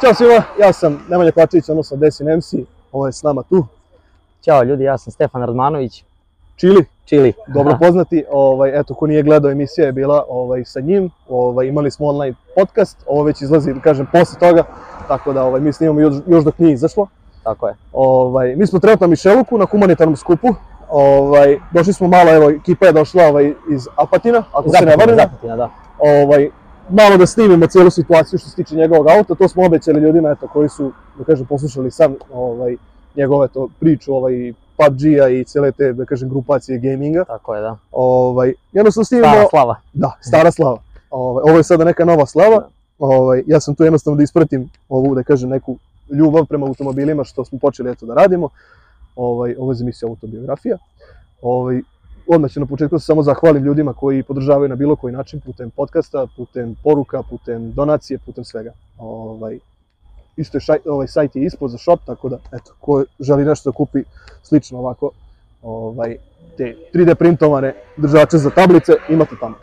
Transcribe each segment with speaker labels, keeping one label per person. Speaker 1: Ćao svima, ja sam Nemanja Kovačević, odnosno Desin MC, ovo je s nama tu,
Speaker 2: Ćao ljudi, ja sam Stefan Radmanović,
Speaker 1: Čili,
Speaker 2: Čili.
Speaker 1: dobro poznati, ovaj, eto ko nije gledao emisija je bila ovaj, sa njim, ovaj, imali smo online podcast, ovo već izlazi, da kažem, posle toga, tako da ovaj, mi snimamo još, još dok nije izašlo.
Speaker 2: Tako je.
Speaker 1: Ovaj, mi smo trenutno na Mišeluku, na humanitarnom skupu, ovaj, došli smo malo, evo, ekipa je došla ovaj, iz Apatina, ako se ne
Speaker 2: Zapatina,
Speaker 1: varam,
Speaker 2: Zapatina, da.
Speaker 1: ovaj, malo da snimimo cijelu situaciju što se tiče njegovog auta, to smo obećali ljudima eto, koji su, da kažem, poslušali sam ovaj, njegove to priču ovaj, PUBG-a i cijele te, da kažem, grupacije gaminga.
Speaker 2: Tako je, da.
Speaker 1: Ovaj, jednostavno snimimo...
Speaker 2: Stara slava.
Speaker 1: Da, stara slava. Ovaj, ovo je sada neka nova slava.
Speaker 2: Da.
Speaker 1: Ovaj, ja sam tu jednostavno da ispratim ovu, da kažem, neku ljubav prema automobilima što smo počeli eto da radimo. Ovaj, ovo je za misiju autobiografija. Ovaj, odmah ću na početku da se samo zahvalim ljudima koji podržavaju na bilo koji način, putem podcasta, putem poruka, putem donacije, putem svega. Ovaj, isto je šaj, ovaj sajt je ispod za shop, tako da, eto, ko želi nešto da kupi slično ovako, ovaj, te 3D printovane držače za tablice, imate tamo.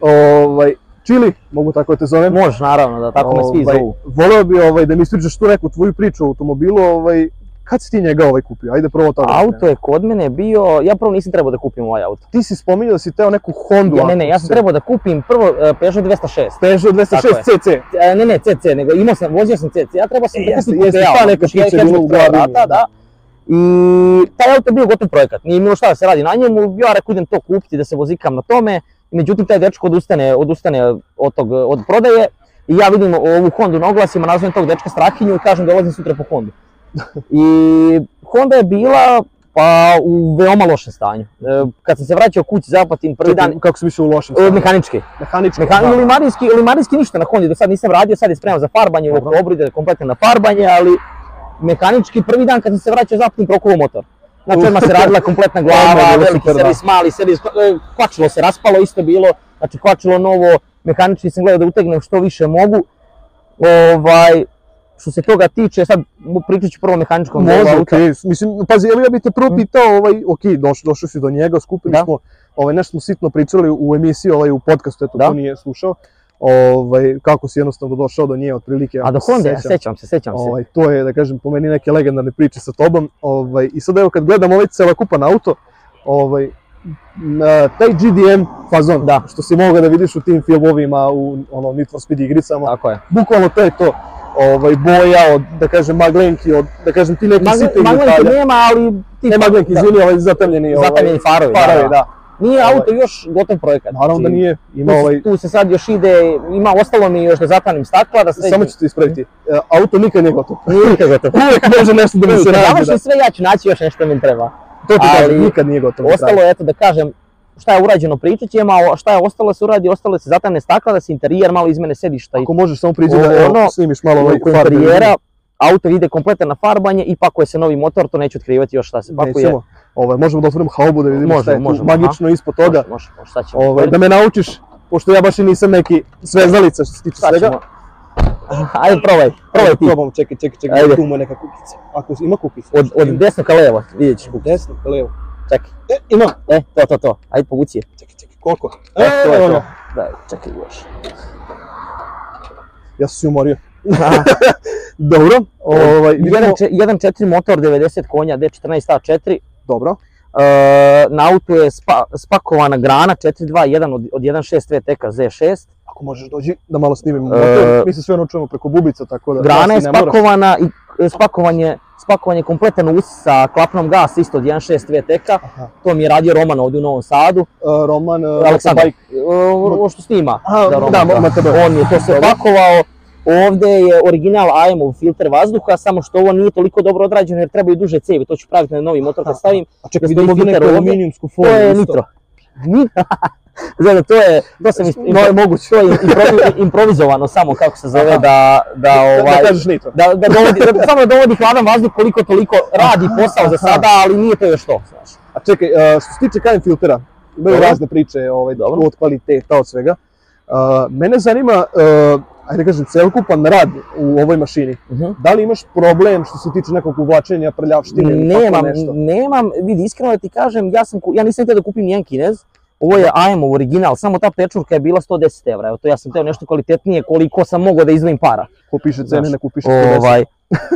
Speaker 1: Ovaj, Čili, mogu tako da te zovem.
Speaker 2: Može, naravno, da, tako me svi
Speaker 1: Ovaj,
Speaker 2: zovu.
Speaker 1: Voleo bi ovaj, da mi ispričaš tu neku tvoju priču o automobilu, ovaj, kad si ti njega ovaj kupio? Ajde prvo to.
Speaker 2: Auto je kod mene bio, ja prvo nisam trebao da kupim ovaj auto.
Speaker 1: Ti si spominjao da si teo neku Hondu.
Speaker 2: Ja, ne, ne, ja sam trebao da kupim prvo e, Peugeot 206.
Speaker 1: Peugeot 206
Speaker 2: Tako
Speaker 1: CC.
Speaker 2: E, ne, ne, CC, nego imao sam, vozio sam CC, ja trebao sam
Speaker 1: E,
Speaker 2: da
Speaker 1: jeste,
Speaker 2: kupim
Speaker 1: jeste,
Speaker 2: Kupeao,
Speaker 1: pa neka
Speaker 2: znači,
Speaker 1: šica je
Speaker 2: hatchback
Speaker 1: bila u
Speaker 2: sa dva
Speaker 1: glavi.
Speaker 2: vrata, da. I taj auto je bio gotov projekat, nije imao šta da se radi na njemu, ja rekao idem to kupiti da se vozikam na tome, međutim taj dečko odustane, odustane od, tog, od prodaje i ja vidim ovu Hondu na oglasima, nazovem tog dečka Strahinju i kažem dolazim sutra po Hondu. I Honda je bila pa u veoma lošem stanju. E, kad sam se vraćao kući zapatim prvi
Speaker 1: Čekaj,
Speaker 2: dan,
Speaker 1: Kako si više u lošem
Speaker 2: e,
Speaker 1: stanju?
Speaker 2: mehanički,
Speaker 1: Mehanički.
Speaker 2: Mehan,
Speaker 1: da.
Speaker 2: limarijski, limarijski ništa na Hondi, do sad nisam radio, sad je spreman za farbanje, u
Speaker 1: Dobro.
Speaker 2: oktobru ide kompletno na farbanje, ali mehanički prvi dan kad sam se vraćao zapnim prokuo motor. Znači
Speaker 1: Uf.
Speaker 2: odmah se radila kompletna
Speaker 1: Odmah je
Speaker 2: glava,
Speaker 1: bilo
Speaker 2: veliki
Speaker 1: super, da.
Speaker 2: servis, mali servis, e, kvačilo se raspalo, isto bilo, znači kvačilo novo, mehanički sam gledao da utegnem što više mogu. Ovaj, što se toga tiče, sad mu pričat ću prvo o mehaničkom delu
Speaker 1: Može,
Speaker 2: auta.
Speaker 1: okej. Mislim, pazi, evo ja bih te prvo
Speaker 2: Mm.
Speaker 1: pitao, ovaj, okej, doš, došli si do njega, skupili
Speaker 2: Da.
Speaker 1: smo, ovaj, nešto smo sitno pričali u emisiji, ovaj, u podcastu, eto,
Speaker 2: Da.
Speaker 1: ko nije slušao, ovaj, kako si jednostavno došao do nje, otprilike,
Speaker 2: A do
Speaker 1: ako se
Speaker 2: Honda,
Speaker 1: sećam.
Speaker 2: sećam se, sećam se.
Speaker 1: Ovaj, to je, da kažem, po meni neke legendarne priče sa tobom. Ovaj, I sad evo kad gledam ovaj celokupan auto, ovaj, na, taj GDM fazon,
Speaker 2: Da.
Speaker 1: što si mogao da vidiš u tim filmovima, u ono, Need for Speed igricama,
Speaker 2: Tako je.
Speaker 1: bukvalno to je to. Ovaj, boja od, da kažem, maglenki, od, da kažem, ti neki
Speaker 2: Magne-
Speaker 1: sitnih
Speaker 2: Magneti
Speaker 1: detalja.
Speaker 2: nema, ali... ti-
Speaker 1: Ne maglenki,
Speaker 2: da,
Speaker 1: izvini, ovaj zatamljeni, ovaj,
Speaker 2: Zatamljeni farovi, da,
Speaker 1: farovi,
Speaker 2: da.
Speaker 1: da.
Speaker 2: Nije
Speaker 1: Ovaj.
Speaker 2: auto još gotov projekat.
Speaker 1: Naravno da
Speaker 2: Znači,
Speaker 1: nije, ima
Speaker 2: tu, se-
Speaker 1: ovaj,
Speaker 2: tu se sad još ide, ima ostalo mi još da zatanim stakla, da sve...
Speaker 1: samo ću te ispraviti, E, auto nikad nije gotov.
Speaker 2: Uvijek je gotovo.
Speaker 1: Uvijek može nešto da mi se
Speaker 2: Završi
Speaker 1: radi, da.
Speaker 2: sve, ja ću naći još nešto mi treba.
Speaker 1: To ti kažem,
Speaker 2: ali
Speaker 1: nikad nije gotov. do kraja.
Speaker 2: Ostalo je, eto da kažem, šta je urađeno pričat ćemo, a šta je ostalo se uradi, ostalo se zatamne stakla, da se interijer malo izmene sedišta i
Speaker 1: Ako možeš samo priđi
Speaker 2: Ovo,
Speaker 1: da evo,
Speaker 2: ono,
Speaker 1: snimiš malo ovaj
Speaker 2: oko
Speaker 1: farbe.
Speaker 2: interijera. Auto ide kompletan na farbanje i pakuje se novi motor, to neću otkrivati još šta se pakuje.
Speaker 1: Nećemo. Ovaj, možemo da otvorimo haubu da vidimo
Speaker 2: Možemo,
Speaker 1: šta je tu
Speaker 2: možemo,
Speaker 1: magično ispod toga.
Speaker 2: Može, može, može, šta ćemo?
Speaker 1: Ovaj, da me naučiš, pošto ja baš i nisam neki svezalica što se tiče
Speaker 2: Šta
Speaker 1: svega.
Speaker 2: ćemo? Ajde, probaj, probaj ti.
Speaker 1: Probamo, čekaj, čekaj, čekaj,
Speaker 2: Ajde.
Speaker 1: tu ima neka kukica. Ako ima kukica.
Speaker 2: Od, od desno ka levo, vidjet ćeš.
Speaker 1: desno ka levo.
Speaker 2: Čekaj.
Speaker 1: E, ima.
Speaker 2: E, to, to, to. Ajde, povuci je.
Speaker 1: Čekaj, čekaj, koliko?
Speaker 2: E, to je
Speaker 1: evo
Speaker 2: to.
Speaker 1: ga.
Speaker 2: Da, čekaj još.
Speaker 1: Ja sam se umorio. Dobro. Ovaj, mi
Speaker 2: Jedan
Speaker 1: smo-
Speaker 2: čet- jedan četiri motor, 90 konja, D14 A4.
Speaker 1: Dobro.
Speaker 2: E, na autu je spa, spakovana grana 421 od, od 1.6 VTK Z6.
Speaker 1: Ako možeš dođi da malo snimimo.
Speaker 2: E,
Speaker 1: motor. Mi se sve naučujemo preko bubica, tako da...
Speaker 2: Grana je
Speaker 1: Jasi, ne moraš.
Speaker 2: spakovana i e, spakovan je, spakovan je kompletan us sa klapnom gas isto od 1.6 VTK.
Speaker 1: Aha.
Speaker 2: To mi je radio Roman ovdje u Novom Sadu.
Speaker 1: E, Roman, e,
Speaker 2: Aleksandar,
Speaker 1: Bajk.
Speaker 2: e, ovo što snima.
Speaker 1: A,
Speaker 2: za
Speaker 1: da,
Speaker 2: Roman,
Speaker 1: ma- ma tebe.
Speaker 2: On je to sve
Speaker 1: Dobro.
Speaker 2: pakovao. Ovde je original AM-ov filter vazduha, samo što ovo nije toliko dobro odrađeno jer trebaju duže cevi, to ću praviti na novi motor kad stavim.
Speaker 1: A čekaj,
Speaker 2: Da
Speaker 1: vidimo
Speaker 2: stoji
Speaker 1: ovdje neku
Speaker 2: filter ovdje.
Speaker 1: aluminijumsku
Speaker 2: To
Speaker 1: foliju.
Speaker 2: je
Speaker 1: isto.
Speaker 2: nitro. Znači, to je, to sam
Speaker 1: No, je
Speaker 2: moguće. To je improvi- improvizovano samo kako se zove da, da,
Speaker 1: Da, da
Speaker 2: ovaj,
Speaker 1: kažeš nitro.
Speaker 2: da, da dovodi, da samo da dovodi hladan vazduh koliko toliko radi posao za sada, ali nije to još to. znaš.
Speaker 1: A čekaj, a, što se tiče kajem filtera, imaju
Speaker 2: Dobro.
Speaker 1: razne priče ovaj,
Speaker 2: Dobro.
Speaker 1: od kvaliteta, od svega. A, mene zanima, uh, ajde kažem, celokupan rad u ovoj mašini.
Speaker 2: Mhm.
Speaker 1: Da li imaš problem što se tiče nekog uvlačenja, prljavštine ili tako
Speaker 2: Nemam,
Speaker 1: nešto?
Speaker 2: nemam, vidi, iskreno da ti kažem, ja, sam, ku- ja nisam htio da kupim nijedan kinez, Ovo je AMO original, samo ta pečurka je bila 110 evra, evo to ja sam teo nešto kvalitetnije koliko sam mogao da izdvojim para.
Speaker 1: Ko piše cene,
Speaker 2: Znaš,
Speaker 1: neko piše 50.
Speaker 2: Ovaj,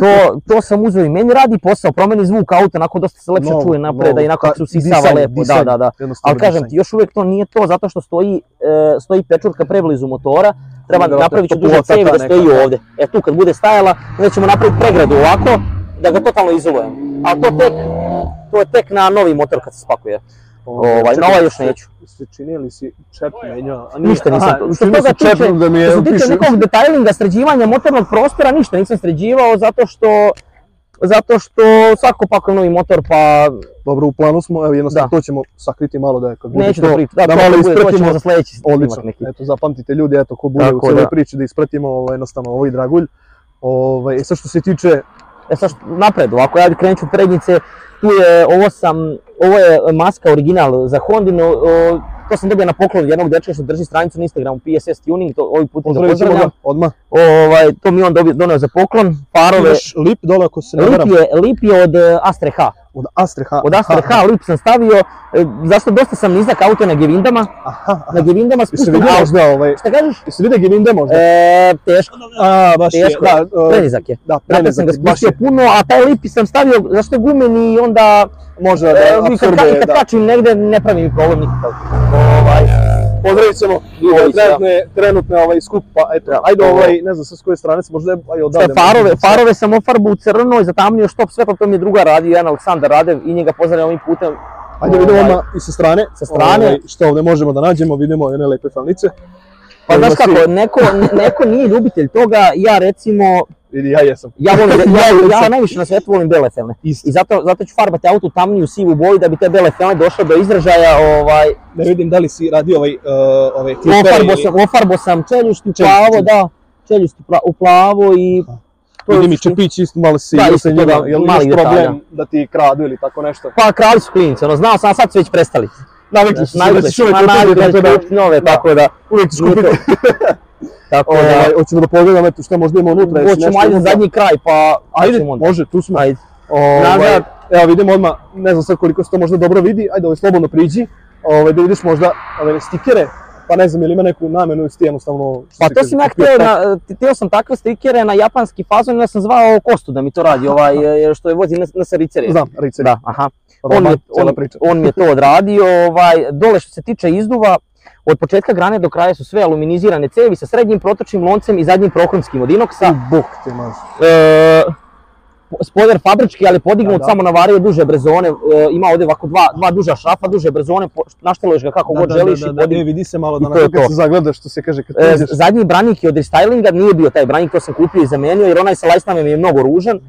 Speaker 2: to, to sam uzeo i meni radi posao, promeni zvuk auta, onako dosta se lepše
Speaker 1: Novo,
Speaker 2: čuje napred,
Speaker 1: novo, Pa,
Speaker 2: a inako
Speaker 1: ta-
Speaker 2: se usisava
Speaker 1: disanje,
Speaker 2: lepo, da,
Speaker 1: disanje.
Speaker 2: da, da.
Speaker 1: Jednostavno
Speaker 2: Ali kažem ti,
Speaker 1: disanje.
Speaker 2: još uvek to nije to, zato što stoji, e, stoji pečurka preblizu motora, treba
Speaker 1: Da, da,
Speaker 2: napravit ću
Speaker 1: to
Speaker 2: duže
Speaker 1: plota
Speaker 2: cevi
Speaker 1: ta
Speaker 2: da
Speaker 1: neka,
Speaker 2: stoji
Speaker 1: da.
Speaker 2: ovde. E tu kad bude stajala, onda ćemo napraviti pregradu ovako, da ga totalno izolujemo. Ali to tek, to je tek na novi motor kad se spakuje. Ovaj, na
Speaker 1: čekaj,
Speaker 2: ovaj još
Speaker 1: se-
Speaker 2: neću.
Speaker 1: Se čini li si čep menjao? A
Speaker 2: Ništa nisam.
Speaker 1: Aha,
Speaker 2: to-
Speaker 1: čini
Speaker 2: što
Speaker 1: mi se
Speaker 2: toga tiče,
Speaker 1: čep da mi je
Speaker 2: što se tiče
Speaker 1: piše-
Speaker 2: nekog detailinga, sređivanja motornog prostora, ništa nisam sređivao zato što zato što svako pakuje novi motor pa
Speaker 1: Dobro, u planu smo, evo jednostavno
Speaker 2: Da.
Speaker 1: to ćemo sakriti malo da kad bude
Speaker 2: neću
Speaker 1: to,
Speaker 2: da pričam. Da, to
Speaker 1: malo
Speaker 2: kad bude, to ćemo
Speaker 1: ispratimo.
Speaker 2: za sledeći
Speaker 1: Odlično,
Speaker 2: snimak neki.
Speaker 1: eto zapamtite ljudi, eto ko bude u
Speaker 2: Tako
Speaker 1: cijeloj
Speaker 2: da.
Speaker 1: priči da ispratimo ovaj, jednostavno ovaj dragulj. Ovaj, e sad što se tiče,
Speaker 2: E sad što- napred, ovako ja krenut ću prednjice, tu je, ovo sam, ovo je maska original za Hondinu, o, to sam dobio na poklon od jednog dečka što drži stranicu na Instagramu PSS Tuning, to ovim putem ga
Speaker 1: pozdravit ćemo ga
Speaker 2: pozdravljam.
Speaker 1: odmah,
Speaker 2: Ovaj, to mi je on dobio, doneo za poklon, parove,
Speaker 1: imaš lip dole ako se ne
Speaker 2: Lip
Speaker 1: varam,
Speaker 2: je, lip je od e, Astre H.
Speaker 1: od Astre H.
Speaker 2: Od Astre H lip sam stavio, e, zašto dosta sam nizak auto na Gevindama,
Speaker 1: Aha, aha.
Speaker 2: na Gevindama
Speaker 1: Jesi
Speaker 2: spustim
Speaker 1: vidio
Speaker 2: auto.
Speaker 1: možda ovaj,
Speaker 2: Šta kažeš?
Speaker 1: jesi vidio Gevinde možda?
Speaker 2: E, teško,
Speaker 1: A, baš je,
Speaker 2: teško je.
Speaker 1: da, e,
Speaker 2: prenizak je.
Speaker 1: da,
Speaker 2: Zato
Speaker 1: prenizak,
Speaker 2: sam ga
Speaker 1: je, baš
Speaker 2: spustio
Speaker 1: je,
Speaker 2: puno, a taj lip sam stavio, zašto je gumeni i onda
Speaker 1: možda da
Speaker 2: E, i kad,
Speaker 1: apsorbuje,
Speaker 2: kad,
Speaker 1: da.
Speaker 2: kad kačim negde ne pravi mi problem nikakav.
Speaker 1: Pozdravit ćemo
Speaker 2: Ljubović, da.
Speaker 1: trenutne, trenutne ovaj skup, pa eto,
Speaker 2: Da.
Speaker 1: ajde ovaj, ne znam sa s koje strane se možda je, ajde
Speaker 2: Sve
Speaker 1: odavde.
Speaker 2: farove, farove sam ofarbu u crno i zatamnio štop sve, pa to mi je druga radio, jedan Aleksandar Radev i njega pozdravljam ovim putem. Ovaj,
Speaker 1: Ajde vidimo odmah i sa strane, sa
Speaker 2: strane.
Speaker 1: što ovde možemo da nađemo, vidimo jedne lepe falnice.
Speaker 2: Pa
Speaker 1: Ima
Speaker 2: znaš
Speaker 1: si-
Speaker 2: kako, neko, neko nije ljubitelj toga, ja recimo,
Speaker 1: Vidi, ja jesam.
Speaker 2: ja volim, ja, ja najviše na svetu volim bele felne.
Speaker 1: Isto.
Speaker 2: I zato, zato ću farbati auto u tamniju sivu boju da bi te bele felne došle do izražaja, ovaj,
Speaker 1: Ne vidim da li si radio ovaj, uh, ovaj
Speaker 2: ofarbo sam, ofarbo sam čeljušti u plavo,
Speaker 1: čeljušti.
Speaker 2: da, čeljušti pla- u plavo i to je
Speaker 1: Vidim i
Speaker 2: suština.
Speaker 1: čepić isto malo si
Speaker 2: Da,
Speaker 1: igrao
Speaker 2: isto
Speaker 1: sa njima,
Speaker 2: toga,
Speaker 1: jel imaš
Speaker 2: mali
Speaker 1: problem
Speaker 2: detalja.
Speaker 1: da ti kradu ili tako nešto?
Speaker 2: Pa krali su klinice, ono, znao sam, a sad su već prestali.
Speaker 1: Navikli su se da
Speaker 2: Navikli
Speaker 1: ćeš
Speaker 2: su,
Speaker 1: uvek
Speaker 2: ma,
Speaker 1: kupiti,
Speaker 2: navikli
Speaker 1: tako
Speaker 2: su
Speaker 1: da
Speaker 2: kupiti nove,
Speaker 1: da.
Speaker 2: tako da.
Speaker 1: uvek ćeš
Speaker 2: Nije to-
Speaker 1: kupiti.
Speaker 2: Tako da,
Speaker 1: Ovaj, Hoćemo da pogledamo eto šta možda ima unutra. jesi
Speaker 2: hoćemo
Speaker 1: nešto
Speaker 2: ajde na
Speaker 1: unutra?
Speaker 2: zadnji kraj, pa
Speaker 1: Ajde,
Speaker 2: ćemo onda.
Speaker 1: može, tu smo.
Speaker 2: Ajde.
Speaker 1: Ovaj,
Speaker 2: Nazad.
Speaker 1: evo vidimo odmah, ne znam sad koliko se to možda dobro vidi, ajde ovaj slobodno priđi, ovaj, da vidiš možda ove stikere, pa ne znam ili ima neku namenu ili si ti jednostavno... što
Speaker 2: Pa
Speaker 1: se
Speaker 2: to
Speaker 1: kaže,
Speaker 2: sam ja
Speaker 1: kupio
Speaker 2: hteo,
Speaker 1: taj-
Speaker 2: na, hteo sam takve strikere na japanski fazon, ja sam zvao Kostu da mi to radi, ovaj, e, što je vozi na, na saricerije.
Speaker 1: Znam, Ricer,
Speaker 2: Da, aha.
Speaker 1: Roman,
Speaker 2: on mi je-
Speaker 1: Pa cijela priča.
Speaker 2: On mi je to odradio, ovaj, dole što se tiče izduva, od početka grane do kraja su sve aluminizirane cevi sa srednjim protočnim loncem i zadnjim prohromskim od inoksa.
Speaker 1: U Bog ti maš.
Speaker 2: e, spoiler fabrički, ali podignut
Speaker 1: Da, da.
Speaker 2: samo na vario duže brezone, e, ima ovde ovako dva, dva duža šrafa, duže brezone, po- našteluješ ga kako god želiš i
Speaker 1: da, e,
Speaker 2: podignut.
Speaker 1: vidi se malo
Speaker 2: I
Speaker 1: da
Speaker 2: to je
Speaker 1: na kad
Speaker 2: to.
Speaker 1: se zagleda što se kaže kad
Speaker 2: E,
Speaker 1: uđeš.
Speaker 2: zadnji branik je od restylinga, nije bio taj branik, to sam kupio i zamenio, jer onaj sa lajstama mi je mnogo ružan.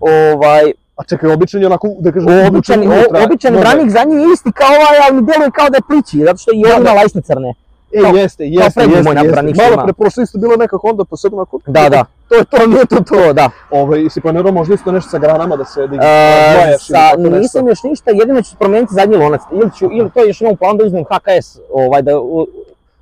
Speaker 2: Ovaj,
Speaker 1: A čekaj, običan je onako, da kažem,
Speaker 2: običan,
Speaker 1: uvučen unutra,
Speaker 2: o, običan
Speaker 1: možda-
Speaker 2: branik za njih je isti kao ovaj, ali mi deluje kao da je plići, zato što i
Speaker 1: Da,
Speaker 2: on ima
Speaker 1: da.
Speaker 2: lajsne crne.
Speaker 1: E,
Speaker 2: kao-
Speaker 1: jeste, jeste,
Speaker 2: prednji
Speaker 1: jeste,
Speaker 2: moj na
Speaker 1: jeste.
Speaker 2: braniku
Speaker 1: Malo
Speaker 2: ima.
Speaker 1: pre prošlo isto bilo neka Honda, pa sad onako...
Speaker 2: Da, da.
Speaker 1: To je to, nije to to.
Speaker 2: To, da.
Speaker 1: Ovaj, si planirao možda isto nešto sa granama da se digne,
Speaker 2: E,
Speaker 1: odvojaš ili
Speaker 2: sa,
Speaker 1: tako nešto?
Speaker 2: nisam još ništa, jedino ću promijeniti zadnji lonac. Ili, ću, ili to još imam u planu da uzmem HKS, ovaj, da u-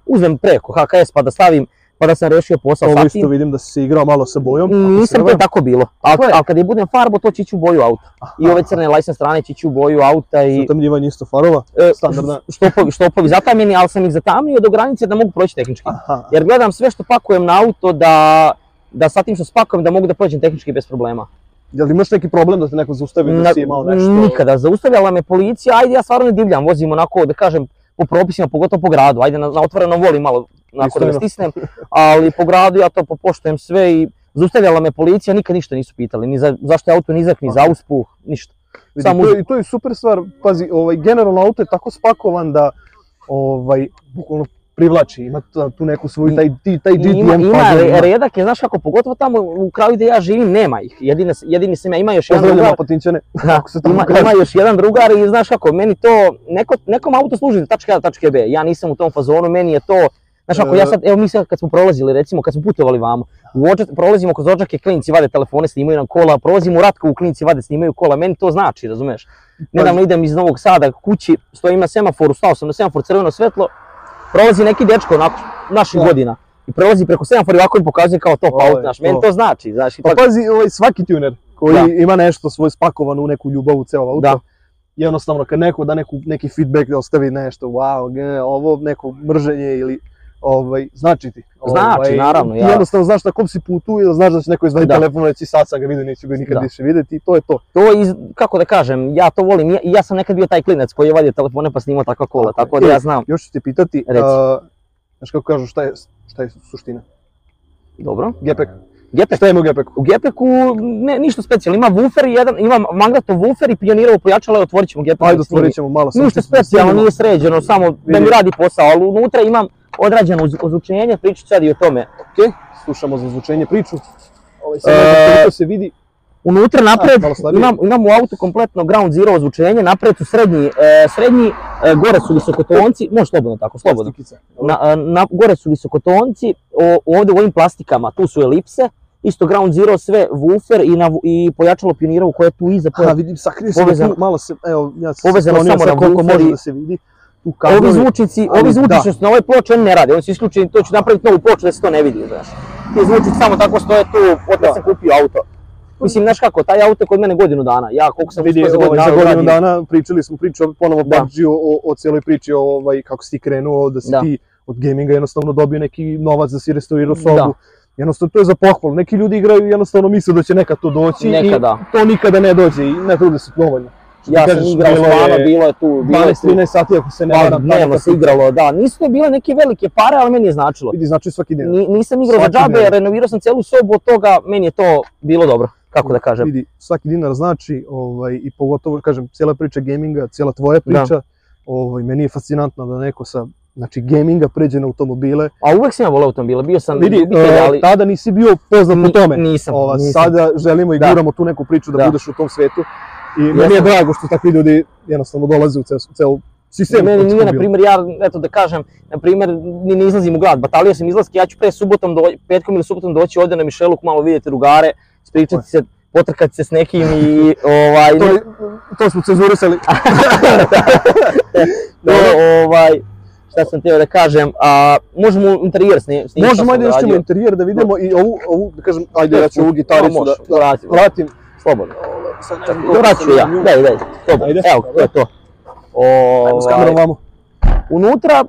Speaker 2: uzmem preko HKS pa da stavim, pa da sam rešio posao
Speaker 1: Ovo
Speaker 2: sa
Speaker 1: isto
Speaker 2: tim.
Speaker 1: vidim da si se igrao malo sa bojom. ako se ne
Speaker 2: Nisam, to je
Speaker 1: varam.
Speaker 2: tako bilo. Ali
Speaker 1: je.
Speaker 2: al kad je budem farbo, to će ići u boju auta. I ove crne lajsne strane će ići u boju auta i
Speaker 1: Zatamljivanje isto farova,
Speaker 2: e,
Speaker 1: standardna.
Speaker 2: štopovi, štopovi zatamljeni, ali sam ih zatamnio do granice da mogu proći tehnički.
Speaker 1: Aha.
Speaker 2: Jer gledam sve što pakujem na auto da da sa tim što spakujem da mogu da prođem tehnički bez problema.
Speaker 1: Jel imaš neki problem da te neko zaustavi da si imao nešto?
Speaker 2: Nikada, zaustavljala me policija, ajde ja stvarno ne divljam, vozim onako da kažem po propisima, pogotovo po gradu, ajde na, na otvorenom volim malo onako da me
Speaker 1: Iskreno.
Speaker 2: stisnem, ali po gradu ja to popoštujem sve i zaustavljala me policija, nikad ništa nisu pitali, ni za, zašto je auto nizak, ni za uspuh, ništa.
Speaker 1: Vidi,
Speaker 2: Samo
Speaker 1: to, je, to je super stvar, pazi, ovaj, generalno auto je tako spakovan da ovaj, bukvalno privlači, ima ta- tu neku svoju,
Speaker 2: I-
Speaker 1: taj, ti- taj
Speaker 2: I Ima,
Speaker 1: GTM
Speaker 2: ima
Speaker 1: fazon,
Speaker 2: re- redak je, znaš kako, pogotovo tamo u kraju gde ja živim, nema ih. Jedine, jedini sam ja, ima još jedan
Speaker 1: Pozdravljamo
Speaker 2: drugar,
Speaker 1: Apotinčane,
Speaker 2: ono Da,
Speaker 1: kako se tamo
Speaker 2: ima,
Speaker 1: kaže.
Speaker 2: ima još jedan drugar i znaš kako, meni to, neko, nekom auto služi za tačke A do tačke B, ja nisam u tom fazonu, meni je to, znaš ako ja sad, evo mi sad kad smo prolazili recimo, kad smo putovali vamo, u očak, prolazimo kroz očake, klinci vade telefone, snimaju nam kola, prolazimo u Ratkovu, klinci vade, snimaju kola, meni to znači, razumeš? Nedavno
Speaker 1: Pa-
Speaker 2: idem iz Novog Sada kući, stojim na semaforu, stao sam na semafor, crveno svetlo, prolazi neki dečko onako, naših
Speaker 1: Da.
Speaker 2: godina, i prolazi preko semafora i ovako im pokazuje kao top
Speaker 1: Ovo je
Speaker 2: auto, znaš, meni
Speaker 1: to.
Speaker 2: to znači, znaš, i
Speaker 1: Pa
Speaker 2: tako-
Speaker 1: pazi, ovaj, svaki tuner koji
Speaker 2: Da.
Speaker 1: ima nešto svoje spakovano u neku ljubav u ceo auto,
Speaker 2: Da.
Speaker 1: jednostavno kad neko da neku, neki feedback da ostavi nešto, wow, ge, ovo neko mrženje ili ovaj, znači ti.
Speaker 2: Znači, naravno,
Speaker 1: ti
Speaker 2: ja-
Speaker 1: jednostavno znaš na kom si putu i znaš da će neko izvadi
Speaker 2: Da.
Speaker 1: telefon i reći sad sam ga vidio, neću ga nikad
Speaker 2: Da.
Speaker 1: više vidjeti i to je to.
Speaker 2: To iz, kako da kažem, ja to volim, ja, ja sam nekad bio taj klinec koji je vadio telefone pa snimao takva kola,
Speaker 1: Tako je.
Speaker 2: tako da
Speaker 1: E,
Speaker 2: ja znam.
Speaker 1: Još ću te pitati,
Speaker 2: Reci.
Speaker 1: a, znaš kako kažu, šta je, šta je suština?
Speaker 2: Dobro.
Speaker 1: Gepek. E,
Speaker 2: Gepek.
Speaker 1: Šta ima u gepeku?
Speaker 2: U Gepeku ne, ništa specijalno, ima woofer, jedan, ima magnetov woofer i pionirovo pojačalo, evo, otvorit ćemo Gepek.
Speaker 1: Ajde,
Speaker 2: da snimi.
Speaker 1: otvorit ćemo malo sam.
Speaker 2: Pa, Ništa specijalno, nije sređeno, samo da mi
Speaker 1: Vidi.
Speaker 2: radi posao, ali unutra imam odrađeno uz- ozvučenje, pričat ću sad i o tome.
Speaker 1: Slušamo za zvučenje priču. Ovaj, sad
Speaker 2: E,
Speaker 1: ne znam koliko se vidi,
Speaker 2: Unutra napred
Speaker 1: malo slabije.
Speaker 2: imam, imam u autu kompletno ground zero ozvučenje, napred su srednji, e, srednji e, gore su visokotonci, može slobodno tako, slobodno.
Speaker 1: Stikica.
Speaker 2: Na, a, na, gore su visokotonci, o, ovdje u ovim plastikama, tu su elipse, isto ground zero sve woofer i, na, i pojačalo pionirovo koje je tu iza, koje
Speaker 1: Ha, vidim, sakrije se
Speaker 2: Povezano-
Speaker 1: tu, malo se, evo, ja sam
Speaker 2: Povezano
Speaker 1: sklonio
Speaker 2: samo
Speaker 1: sad
Speaker 2: na
Speaker 1: koliko
Speaker 2: woofer
Speaker 1: može
Speaker 2: i-
Speaker 1: da se vidi. Tu
Speaker 2: ovi
Speaker 1: kablovi,
Speaker 2: zvučnici,
Speaker 1: ali
Speaker 2: ovi zvučići
Speaker 1: da.
Speaker 2: što su na ovoj ploči, oni ne rade, oni su isključeni, to ću napraviti novu ploču da se to ne vidi, znaš. Ti zvučići samo tako stoje tu, otkad
Speaker 1: Da.
Speaker 2: sam kupio auto. Mislim, znaš kako, taj auto je kod mene godinu dana, ja koliko sam
Speaker 1: vidi,
Speaker 2: uspio za godinu
Speaker 1: ovaj, za
Speaker 2: dana
Speaker 1: godinu
Speaker 2: uradim.
Speaker 1: dana pričali smo priču, ponovo
Speaker 2: Da.
Speaker 1: PUBG o, o, o cijeloj priči, o, ovaj, kako si ti krenuo, da si
Speaker 2: Da.
Speaker 1: ti od gaminga jednostavno dobio neki novac da si restaurirao sobu.
Speaker 2: Da.
Speaker 1: Jednostavno, to je za pohvalu. Neki ljudi igraju i jednostavno misle da će nekad to doći
Speaker 2: Nekada.
Speaker 1: i to nikada ne dođe i ne trude se dovoljno. Što ti
Speaker 2: Ja sam
Speaker 1: kažeš,
Speaker 2: igrao s
Speaker 1: bilo
Speaker 2: vama,
Speaker 1: je
Speaker 2: bilo je tu, bilo je tu.
Speaker 1: 12-13 sati ako se ne
Speaker 2: Pa,
Speaker 1: varam.
Speaker 2: dnevno
Speaker 1: tako
Speaker 2: se
Speaker 1: kako-
Speaker 2: igralo, da. Nisu to bile neke velike pare, ali meni je značilo.
Speaker 1: Vidi, znači svaki dinar.
Speaker 2: Ni- nisam igrao za
Speaker 1: Svaki
Speaker 2: džabe,
Speaker 1: dan.
Speaker 2: renovirao sam celu sobu, od toga meni je to bilo dobro, kako da kažem.
Speaker 1: Vidi, svaki dinar znači, ovaj, i pogotovo, kažem, cijela priča gaminga, cijela tvoja priča, ovaj, meni je fascinantno da neko sa, znači, gaminga pređe na automobile.
Speaker 2: A uvek sam ja volao automobile, bio sam
Speaker 1: Vidi,
Speaker 2: ljubitelj,
Speaker 1: e,
Speaker 2: ali
Speaker 1: tada nisi bio poznat po
Speaker 2: ni-
Speaker 1: tome.
Speaker 2: nisam,
Speaker 1: Ova,
Speaker 2: nisam.
Speaker 1: Sada želimo i
Speaker 2: Da.
Speaker 1: guramo tu neku priču da,
Speaker 2: Da.
Speaker 1: budeš u tom svetu. I meni je
Speaker 2: Jesam.
Speaker 1: drago što takvi ljudi jednostavno dolaze u ceo, ceo sistem.
Speaker 2: Meni nije, na
Speaker 1: automobila.
Speaker 2: primjer, ja, eto da kažem, na primjer, ni ne izlazim u grad, batalio sam izlaske, ja ću pre subotom, do, petkom ili subotom doći ovdje na Mišeluk, malo vidjeti drugare, spričati se, potrkati se s nekim i ovaj...
Speaker 1: To, je- to smo cenzurisali.
Speaker 2: to, ovaj, šta sam teo da kažem, a možemo interijer sni- pa snimiti.
Speaker 1: Možemo, ajde još ćemo interijer da vidimo i ovu, ovu da kažem, ajde, ja ću ovu gitaricu da, da
Speaker 2: vratim,
Speaker 1: vratim.
Speaker 2: slobodno.
Speaker 1: Ovaj, sad ne znam koliko
Speaker 2: Vratit ću
Speaker 1: sam
Speaker 2: ja,
Speaker 1: na nju.
Speaker 2: daj, daj, slobodno,
Speaker 1: Ajde.
Speaker 2: evo, to je to.
Speaker 1: Ajmo s
Speaker 2: Ovaj,
Speaker 1: kamerom vamo.
Speaker 2: unutra,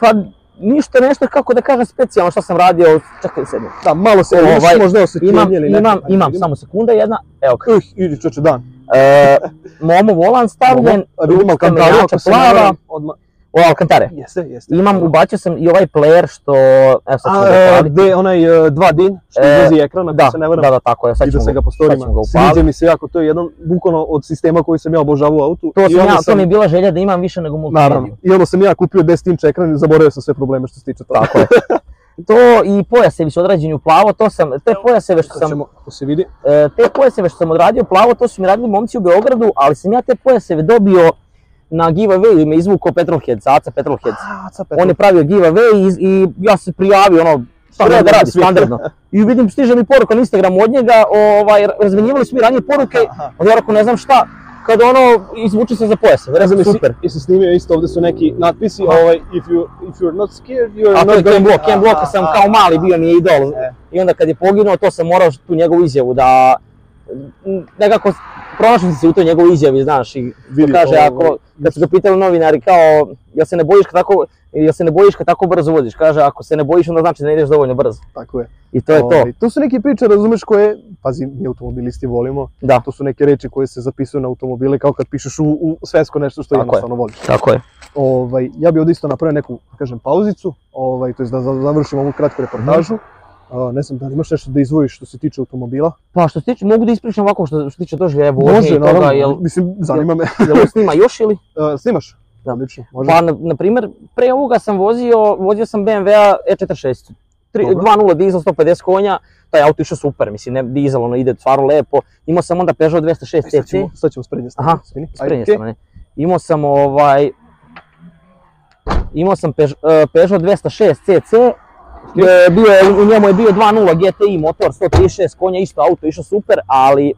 Speaker 2: pa ništa nešto, kako da kažem, specijalno šta sam radio, čekaj sedmi.
Speaker 1: Da, malo se
Speaker 2: Ovaj,
Speaker 1: ovaj, možda
Speaker 2: Imam,
Speaker 1: osjetljenje ili ne.
Speaker 2: imam, imam, samo sekunda jedna, evo ga.
Speaker 1: Uh, idi čoče dan.
Speaker 2: E, Momo volan stavljen,
Speaker 1: A vidimo Alcantaru
Speaker 2: menjača
Speaker 1: ako se
Speaker 2: plava.
Speaker 1: ne varam, odmah.
Speaker 2: o Alcantare.
Speaker 1: Jeste, jeste.
Speaker 2: Imam, ubacio sam i ovaj player što, evo sad ćemo
Speaker 1: A,
Speaker 2: ga
Speaker 1: e,
Speaker 2: upaliti.
Speaker 1: gde onaj e, dva din, što
Speaker 2: E,
Speaker 1: izlazi ekran, ako
Speaker 2: Da,
Speaker 1: se ne varam.
Speaker 2: da, da, tako je, sad
Speaker 1: I da
Speaker 2: ćemo
Speaker 1: se
Speaker 2: ga,
Speaker 1: ga
Speaker 2: sad ćemo ga
Speaker 1: postorimo. Sviđa
Speaker 2: upaliti.
Speaker 1: mi se jako, to je jedan bukvalno od sistema koji sam ja obožavao u autu.
Speaker 2: To,
Speaker 1: I ono
Speaker 2: sam
Speaker 1: onda
Speaker 2: ja, to mi je bila želja da imam više nego multimediju.
Speaker 1: Naravno. I onda sam ja kupio 10 inč ekran i zaboravio sam sve probleme što se tiče toga.
Speaker 2: Tako je. To i pojasevi su odrađeni u plavo, to sam, te pojaseve što
Speaker 1: Sad
Speaker 2: sam
Speaker 1: ćemo, ako se vidi.
Speaker 2: E, te pojaseve što sam odradio plavo, to su mi radili momci u Beogradu, ali sam ja te pojaseve dobio na giveaway i me izvukao Petrolheads, Aca Petrolheads.
Speaker 1: A, ca
Speaker 2: On je pravio giveaway i, i ja se prijavio, ono, šta
Speaker 1: Standardno
Speaker 2: ne da radi,
Speaker 1: svi.
Speaker 2: standardno. I vidim, stiže mi poruka na Instagramu od njega, ovaj, razmenjivali smo mi ranije poruke,
Speaker 1: Aha.
Speaker 2: on ja rekao, ne znam šta, kada ono, izvuče se za pojaseve,
Speaker 1: Razumem,
Speaker 2: razumiješ,
Speaker 1: jesi-
Speaker 2: super.
Speaker 1: jesi snimio isto, ovde su neki natpisi,
Speaker 2: Aha.
Speaker 1: ovaj, if, you, if you're not scared, you're
Speaker 2: A to je
Speaker 1: not
Speaker 2: Ken
Speaker 1: going...
Speaker 2: Block, Ken Block sam kao mali bio mi je idol.
Speaker 1: E.
Speaker 2: I onda kad je poginuo, to sam morao tu njegovu izjavu da... m, Nekako pronašao sam se u toj njegovoj izjavi, znaš, i
Speaker 1: Vidi,
Speaker 2: kaže,
Speaker 1: ovo-
Speaker 2: ako, kad su ga pitali novinari, kao, jel se ne bojiš kad tako, jel se ne bojiš kad tako brzo voziš? Kaže, ako se ne bojiš, onda znači da ne ideš dovoljno brzo.
Speaker 1: Tako je.
Speaker 2: I to je to.
Speaker 1: Ovaj, to su neke priče, razumeš, koje, pazi, mi automobilisti volimo,
Speaker 2: Da,
Speaker 1: to su neke reči koje se zapisuju na automobile, kao kad pišeš u, u svesko nešto što
Speaker 2: Tako je.
Speaker 1: jednostavno voliš.
Speaker 2: tako je.
Speaker 1: Ovaj, ja bi ovdje isto napravio neku, da kažem, pauzicu, ovaj, to je da za- završim ovu kratku reportažu.
Speaker 2: Mhm.
Speaker 1: A, ne znam, da li imaš nešto da izdvojiš što se tiče automobila?
Speaker 2: Pa što se tiče, mogu da ispričam ovako što, što se tiče doživljaja vožnje i toga,
Speaker 1: naravno,
Speaker 2: jel,
Speaker 1: mislim, zanima me.
Speaker 2: jel ovo snima još ili?
Speaker 1: A, snimaš?
Speaker 2: Da.
Speaker 1: Odlično, može.
Speaker 2: Pa, na, na primjer, pre ovoga sam vozio, vozio sam BMW-a E46. E Tri-
Speaker 1: Dobro.
Speaker 2: 2.0 dizel, 150 konja, taj auto išao super, mislim, ne, dizel, ono ide stvarno lepo. Imao sam onda Peugeot 206
Speaker 1: Sad ćemo,
Speaker 2: TC,
Speaker 1: sad ćemo s prednje strane.
Speaker 2: Aha,
Speaker 1: izvini.
Speaker 2: s
Speaker 1: Ajde,
Speaker 2: prednje
Speaker 1: okej.
Speaker 2: strane. Imao sam ovaj, imao sam Peugeot, e, Peugeot 206 CC, e, bio je, u njemu je bio 2.0 GTI motor, 136 konja, isto auto, išao super, ali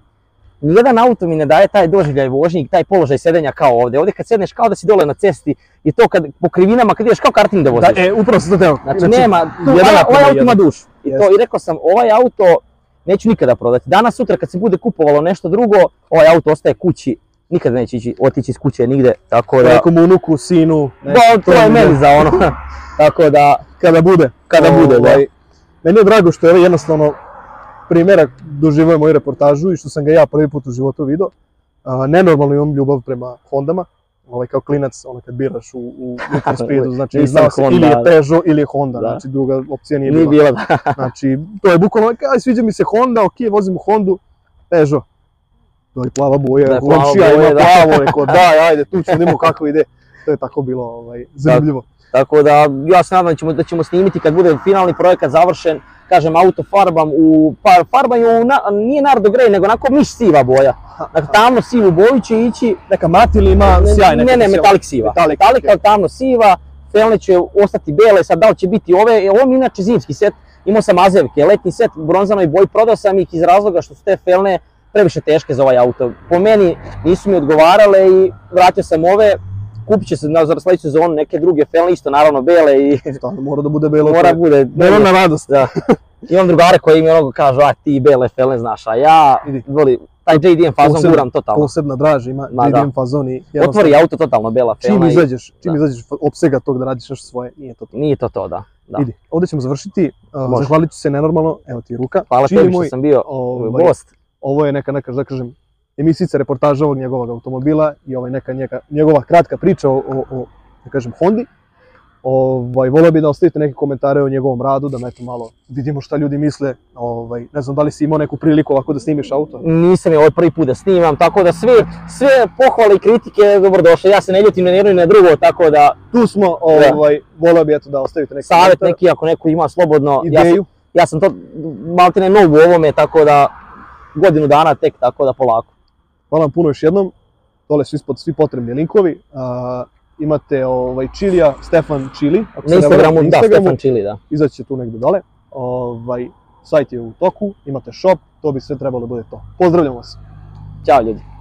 Speaker 2: nijedan auto mi ne daje taj doživljaj vožnji, taj položaj sedenja kao ovdje. Ovdje kad sedneš kao da si dole na cesti i to kad po krivinama kad ideš kao karting da voziš.
Speaker 1: Da, e, upravo sam to teo.
Speaker 2: Znači, nema, tu-
Speaker 1: jedan
Speaker 2: ovaj,
Speaker 1: ako
Speaker 2: ovaj
Speaker 1: ima
Speaker 2: auto ima
Speaker 1: jedan.
Speaker 2: dušu. I, to,
Speaker 1: Jeste.
Speaker 2: I rekao sam, ovaj auto neću nikada prodati. Danas, sutra kad se bude kupovalo nešto drugo, ovaj auto ostaje kući. nikad neće ići, otići iz kuće nigde, tako da...
Speaker 1: Nekom unuku, sinu, ne,
Speaker 2: Da, to je
Speaker 1: mi
Speaker 2: meni za ono. tako da,
Speaker 1: Kada bude.
Speaker 2: kada bude, da.
Speaker 1: Ovaj, Meni je drago što je ovaj jednostavno primjerak doživio moju reportažu i što sam ga ja prvi put u životu video. A, nenormalno imam ljubav prema Hondama, ovaj, kao klinac, ono kad biraš u, u, u speedu, znači
Speaker 2: Nisam
Speaker 1: znao se ili
Speaker 2: Honda,
Speaker 1: je
Speaker 2: da.
Speaker 1: Peugeot ili je Honda,
Speaker 2: Da.
Speaker 1: znači druga opcija nije
Speaker 2: Nije
Speaker 1: bila.
Speaker 2: bilo da.
Speaker 1: Znači, to je bukvalno, aj sviđa mi se Honda, ok, vozim u Hondu, Peugeot. To je plava boja,
Speaker 2: Da
Speaker 1: da,
Speaker 2: je plava
Speaker 1: komšija
Speaker 2: boja,
Speaker 1: ima
Speaker 2: da.
Speaker 1: plavo, rekao, daj, ajde, tu ćemo, vidimo kako ide. To je tako bilo ovaj, zanimljivo.
Speaker 2: Tako da, ja se nadam da ćemo, da ćemo snimiti kad bude finalni projekat završen, kažem, auto farbam u, par, farbam je u, na, nije nardo grey, nego onako miš siva boja. Dakle, tamno sivu boju će ići,
Speaker 1: Neka matil ima
Speaker 2: Ne,
Speaker 1: sjajne
Speaker 2: ne, ne,
Speaker 1: funkcije.
Speaker 2: metalik siva.
Speaker 1: Metalik,
Speaker 2: Metallica
Speaker 1: ok.
Speaker 2: je tamno siva, felne će ostati bele, sad da li će biti ove, e, ovo mi je inače zimski set, imao sam azevke, letni set u bronzanoj boji, prodao sam ih iz razloga što su te felne previše teške za ovaj auto. Po meni nisu mi odgovarale i vratio sam ove, kupit će se na za sledeću sezonu neke druge felne, isto naravno bele i
Speaker 1: Stvarno, mora da bude belo.
Speaker 2: mora
Speaker 1: Mora
Speaker 2: bude.
Speaker 1: Belo na radost.
Speaker 2: Da. Imam drugare koji mi onoga kažu, a ti bele felne znaš, a ja
Speaker 1: Vidi.
Speaker 2: volim, taj JDM fazon
Speaker 1: Posebno-
Speaker 2: guram totalno.
Speaker 1: Posebna draž ima,
Speaker 2: Ma, da.
Speaker 1: vidim fazon i jednostavno,
Speaker 2: Otvori auto totalno bela
Speaker 1: Čim
Speaker 2: felna i
Speaker 1: izađeš, čim
Speaker 2: da.
Speaker 1: izađeš opsega tog da radiš nešto svoje, nije to to.
Speaker 2: nije to to da. da.
Speaker 1: Idi, ovde ćemo završiti, uh,
Speaker 2: Može.
Speaker 1: zahvalit ću se nenormalno, evo ti ruka.
Speaker 2: Hvala
Speaker 1: Čili
Speaker 2: tebi što
Speaker 1: moj,
Speaker 2: sam bio
Speaker 1: ovaj,
Speaker 2: gost.
Speaker 1: ovo je neka, neka, da kažem, emisica, reportaža ovog njegovog automobila i ovaj neka, neka njegova kratka priča o, o, o da kažem, Hondi. Ovaj, volio bi da ostavite neke komentare o njegovom radu, da me eto malo vidimo šta ljudi misle. Ovaj, ne znam da li si imao neku priliku ovako da snimiš auto.
Speaker 2: Nisam je ovaj prvi put da snimam, tako da sve, sve pohvale i kritike dobrodošle. Ja se ne ljutim na jedno i na drugo, tako da
Speaker 1: Tu smo, ovaj, volio bi eto da ostavite neki
Speaker 2: savjet
Speaker 1: komentar,
Speaker 2: neki ako neko ima slobodno. Ja sam,
Speaker 1: ideju.
Speaker 2: ja sam to maltene nov u ovome, tako da godinu dana tek, tako da polako.
Speaker 1: Hvala vam puno još jednom. Dole su ispod svi potrebni linkovi. A, imate ovaj, Čilija, Stefan Čili. ako se
Speaker 2: Na
Speaker 1: ne varam,
Speaker 2: Instagramu,
Speaker 1: na
Speaker 2: da,
Speaker 1: Instagramu.
Speaker 2: Stefan Čili, da.
Speaker 1: izaći će tu negde dole. Ovaj, sajt je u toku, imate shop, to bi sve trebalo da bude to. Pozdravljam vas!
Speaker 2: Ćao ljudi.